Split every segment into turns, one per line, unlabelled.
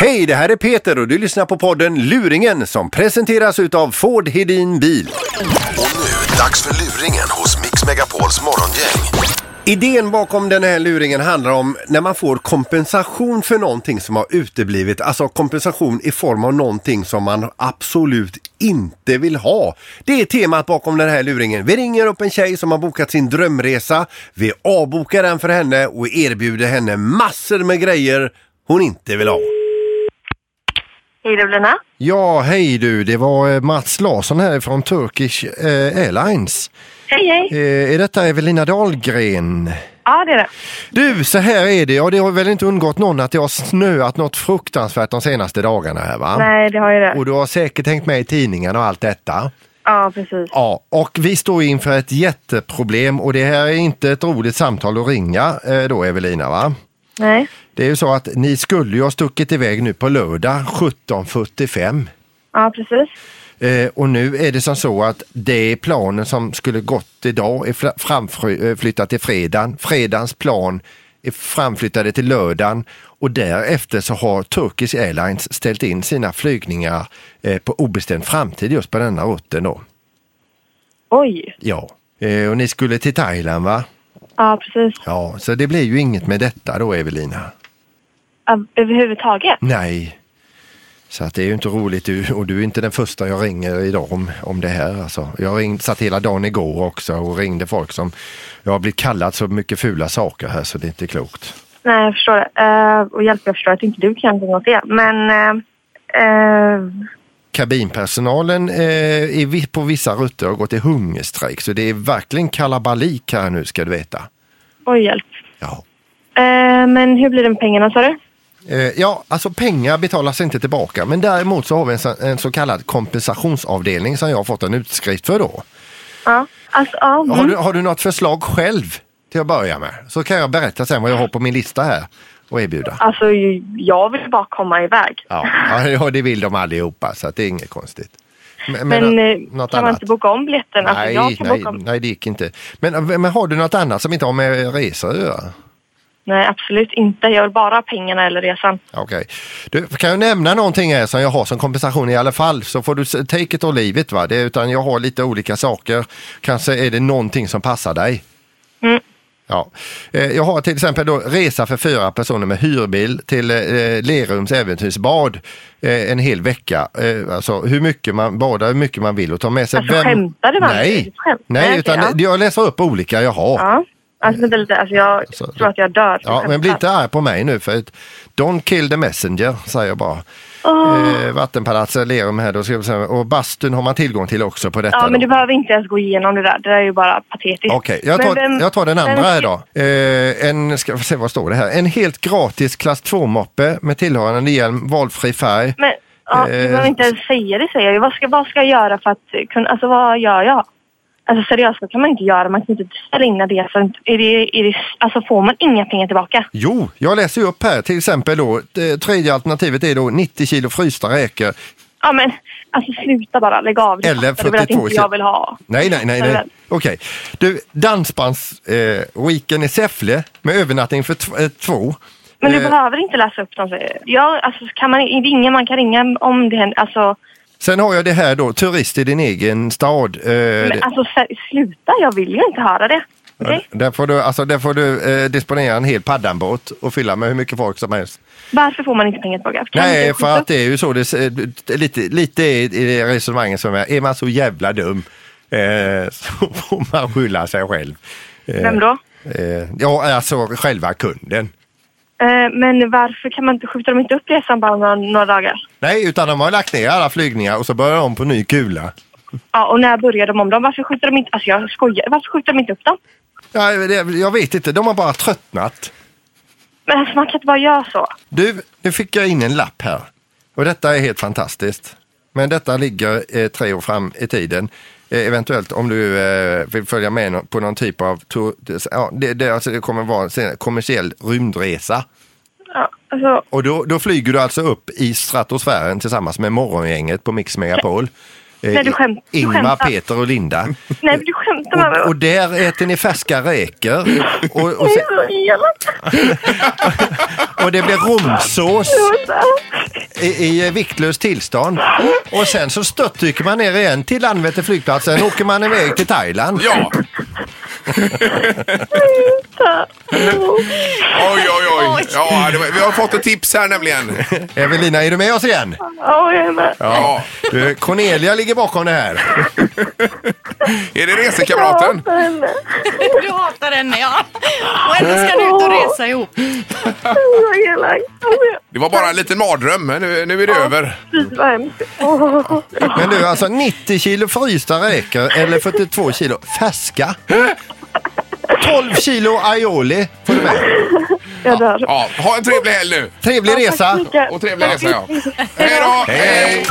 Hej, det här är Peter och du lyssnar på podden Luringen som presenteras utav Ford Hedin Bil.
Och nu, dags för luringen hos Mix Megapols morgongäng.
Idén bakom den här luringen handlar om när man får kompensation för någonting som har uteblivit. Alltså kompensation i form av någonting som man absolut inte vill ha. Det är temat bakom den här luringen. Vi ringer upp en tjej som har bokat sin drömresa. Vi avbokar den för henne och erbjuder henne massor med grejer hon inte vill ha.
Hej Lena.
Ja, hej du. Det var eh, Mats Larsson här från Turkish eh, Airlines.
Hej hej.
Eh, Är detta Evelina Dahlgren?
Ja det är det.
Du, så här är det. Och det har väl inte undgått någon att det har snöat något fruktansvärt de senaste dagarna här va?
Nej det har ju det.
Och du har säkert hängt med i tidningarna och allt detta.
Ja precis.
Ja, och vi står inför ett jätteproblem och det här är inte ett roligt samtal att ringa eh, då Evelina va?
Nej.
Det är ju så att ni skulle ju ha stuckit iväg nu på lördag 17.45.
Ja precis.
Eh, och nu är det som så att det planen som skulle gått idag är fla- framfly- eh, flyttat till fredagen. Fredagens plan är framflyttade till lördagen och därefter så har Turkish Airlines ställt in sina flygningar eh, på obestämd framtid just på denna rutten då.
Oj.
Ja, eh, och ni skulle till Thailand va?
Ja precis.
Ja, så det blir ju inget med detta då Evelina.
Ja, överhuvudtaget.
Nej. Så att det är ju inte roligt du, och du är inte den första jag ringer idag om, om det här. Alltså. Jag ringde, satt hela dagen igår också och ringde folk som jag har blivit kallad så mycket fula saker här så det är inte klokt.
Nej jag förstår det. Eh, och hjälp jag förstår att inte du kan någonting åt det. Men eh, eh,
Kabinpersonalen eh, är vi- på vissa rutter har gått i hungerstrejk så det är verkligen kalabalik här nu ska du veta.
oj hjälp.
Ja.
Eh, men hur blir det med pengarna sa du?
Eh, Ja, alltså pengar betalas inte tillbaka men däremot så har vi en, så- en så kallad kompensationsavdelning som jag har fått en utskrift för då.
Ja. Alltså ja.
Har,
Mm.
du, har du något förslag själv till att börja med? Så kan jag berätta sen vad jag har på min lista här och erbjuda.
Alltså ju- jag vill bara komma iväg.
Ja, ja det vill de allihopa så att det är inget konstigt. Men,
Men,
nå-
eh, kan man inte boka om biljetten? alltså, jag
Nej,
kan
nej,
boka om.
nej, det gick inte. Men, men har du något annat som inte har med resor att göra?
Nej absolut inte. Jag vill bara ha pengarna eller resan.
Okej. Du, kan jag nämna någonting här som jag har som kompensation i alla fall så får du s- take it or leave it. Va? Det, är- utan jag har lite olika saker. Kanske är det någonting som passar dig.
Mm.
Ja. Eh, Jag har till exempel då resa för fyra personer med hyrbil till eh, Lerums äventyrsbad eh, en hel vecka. Eh, Alltså hur mycket man badar, hur mycket man vill och ta med sig.
Alltså, skämtar du, Magnus? Är det
Nej,
ett skämt?
Nej
Nej,
utan
okej,
jag läser upp olika jag har.
Ja. Alltså vänta lite. Alltså jag
Alltså,
tror att jag dör.
Ja, men bli inte arg på mig nu för att don't kill the messenger säger jag bara. Eh, vattenpalatset, Lerum här då, ska vi säga, och bastun har man tillgång till också på detta.
Ja, men
då.
du behöver inte ens gå igenom det där. Det där är ju bara patetiskt.
Okej, jag,
Men
tar,
vem-
jag tar den andra
vem-
här då. Eh, en, ska vi se vad står det här? En helt gratis klass 2-moppe med tillhörande hjälm, valfri färg.
Men, ja, du
Eh,
behöver inte ens säga det, säger jag. Vad ska, vad ska jag göra för att eh, kunna... Alltså, vad gör jag? Alltså seriöst, det kan man inte göra. Man kan inte ställa in en resa. Är det, är det, alltså får man inga pengar tillbaka?
Jo, jag läser ju upp här till exempel då. eh, Tredje alternativet är då 90 kilo frysta räkor.
Ja, men alltså sluta bara. Lägg av. Du
Eller
fattar väl att
42
inte jag vill ha.
Nej, nej, nej. nej.
Eller-
Okej. Du, dansbandsweekend eh, weekend i Säffle med övernattning för tv- eh, två.
Men du
Eh,
behöver inte läsa upp dem. säger jag. Ja, alltså kan man ringa? Man kan ringa om det händer. Alltså,
Sen har jag det här då, turist i din egen stad. Eh,
men, alltså sä- sluta. Jag vill ju inte höra det. Okej?
Där får du, alltså, där får du eh, disponera en hel paddanbåt och fylla med hur mycket folk som helst.
Varför får man inte pengar tillbaka? Kan inte
Nej,
skjuta
för att
upp?
det är ju så, det, är- det är lite, lite i det resonemanget som är, är man så jävla dum eh, så får man skylla sig själv. Eh,
Vem då?
Eh, ja, alltså själva kunden.
Eh, men varför kan man inte skjuta dem inte upp resan bara några, några dagar?
Nej, utan de har lagt ner alla flygningar och så börjar de på ny kula.
Ja, och när börjar de om dem? Varför skjuter de inte... Alltså jag skojar. Varför skjuter de inte upp dem?
Ja, det, jag vet inte, de har bara tröttnat.
Men alltså man kan inte bara göra så.
Du, nu fick jag in en lapp här. Och detta är helt fantastiskt. Men detta ligger eh, tre år fram i tiden. Eh, eventuellt om du eh, vill följa med nå- på någon typ av tur, ja, det, det, alltså, det kommer vara en sen- kommersiell rymdresa.
Ja, alltså,
Och då, då flyger du alltså upp i stratosfären tillsammans med morgongänget på Mix Megapol. Eh,
Nej, du skämt- du
Ingmar,
skämtar.
Peter och Linda.
nej men du skämtar med mig.
Och, och där äter ni färska räkor. Och, och,
Det
sen,
är så elakt.
och det blir romsås.
Det var så-
i, i viktlöst tillstånd. Och sen så störtdyker man ner igen till Landvetter flygplats. Sen åker man iväg till Thailand.
Ja, oj, oj, oj. Ja, det var, vi har fått ett tips här nämligen.
Evelina, är du med oss igen?
Ja, jag är med.
Ja.
Du, Cornelia ligger bakom det här.
Är det resekamraten?
Jag henne.
Du hatar henne ja. Och ändå ska ni ut och resa ihop.
Vad elak.
Det var bara en liten mardröm, men nu, nu är det över.
Fy vad hemskt. Åh.
Men du, alltså 90 kilo frysta räkor eller 42 kilo färska. 12 kilo aioli får du med.
Jag dör.
Ja, ha en trevlig helg nu.
Trevlig resa.
Och trevlig resa, ja. Hej då! Hej!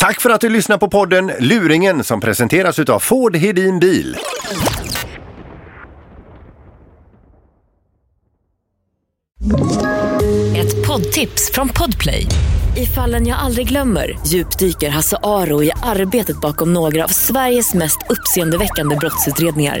Tack för att du lyssnar på podden Luringen som presenteras utav Ford Hedin Bil.
Ett poddtips från Podplay. I fallen jag aldrig glömmer djupdyker Hasse Aro i arbetet bakom några av Sveriges mest uppseendeväckande brottsutredningar.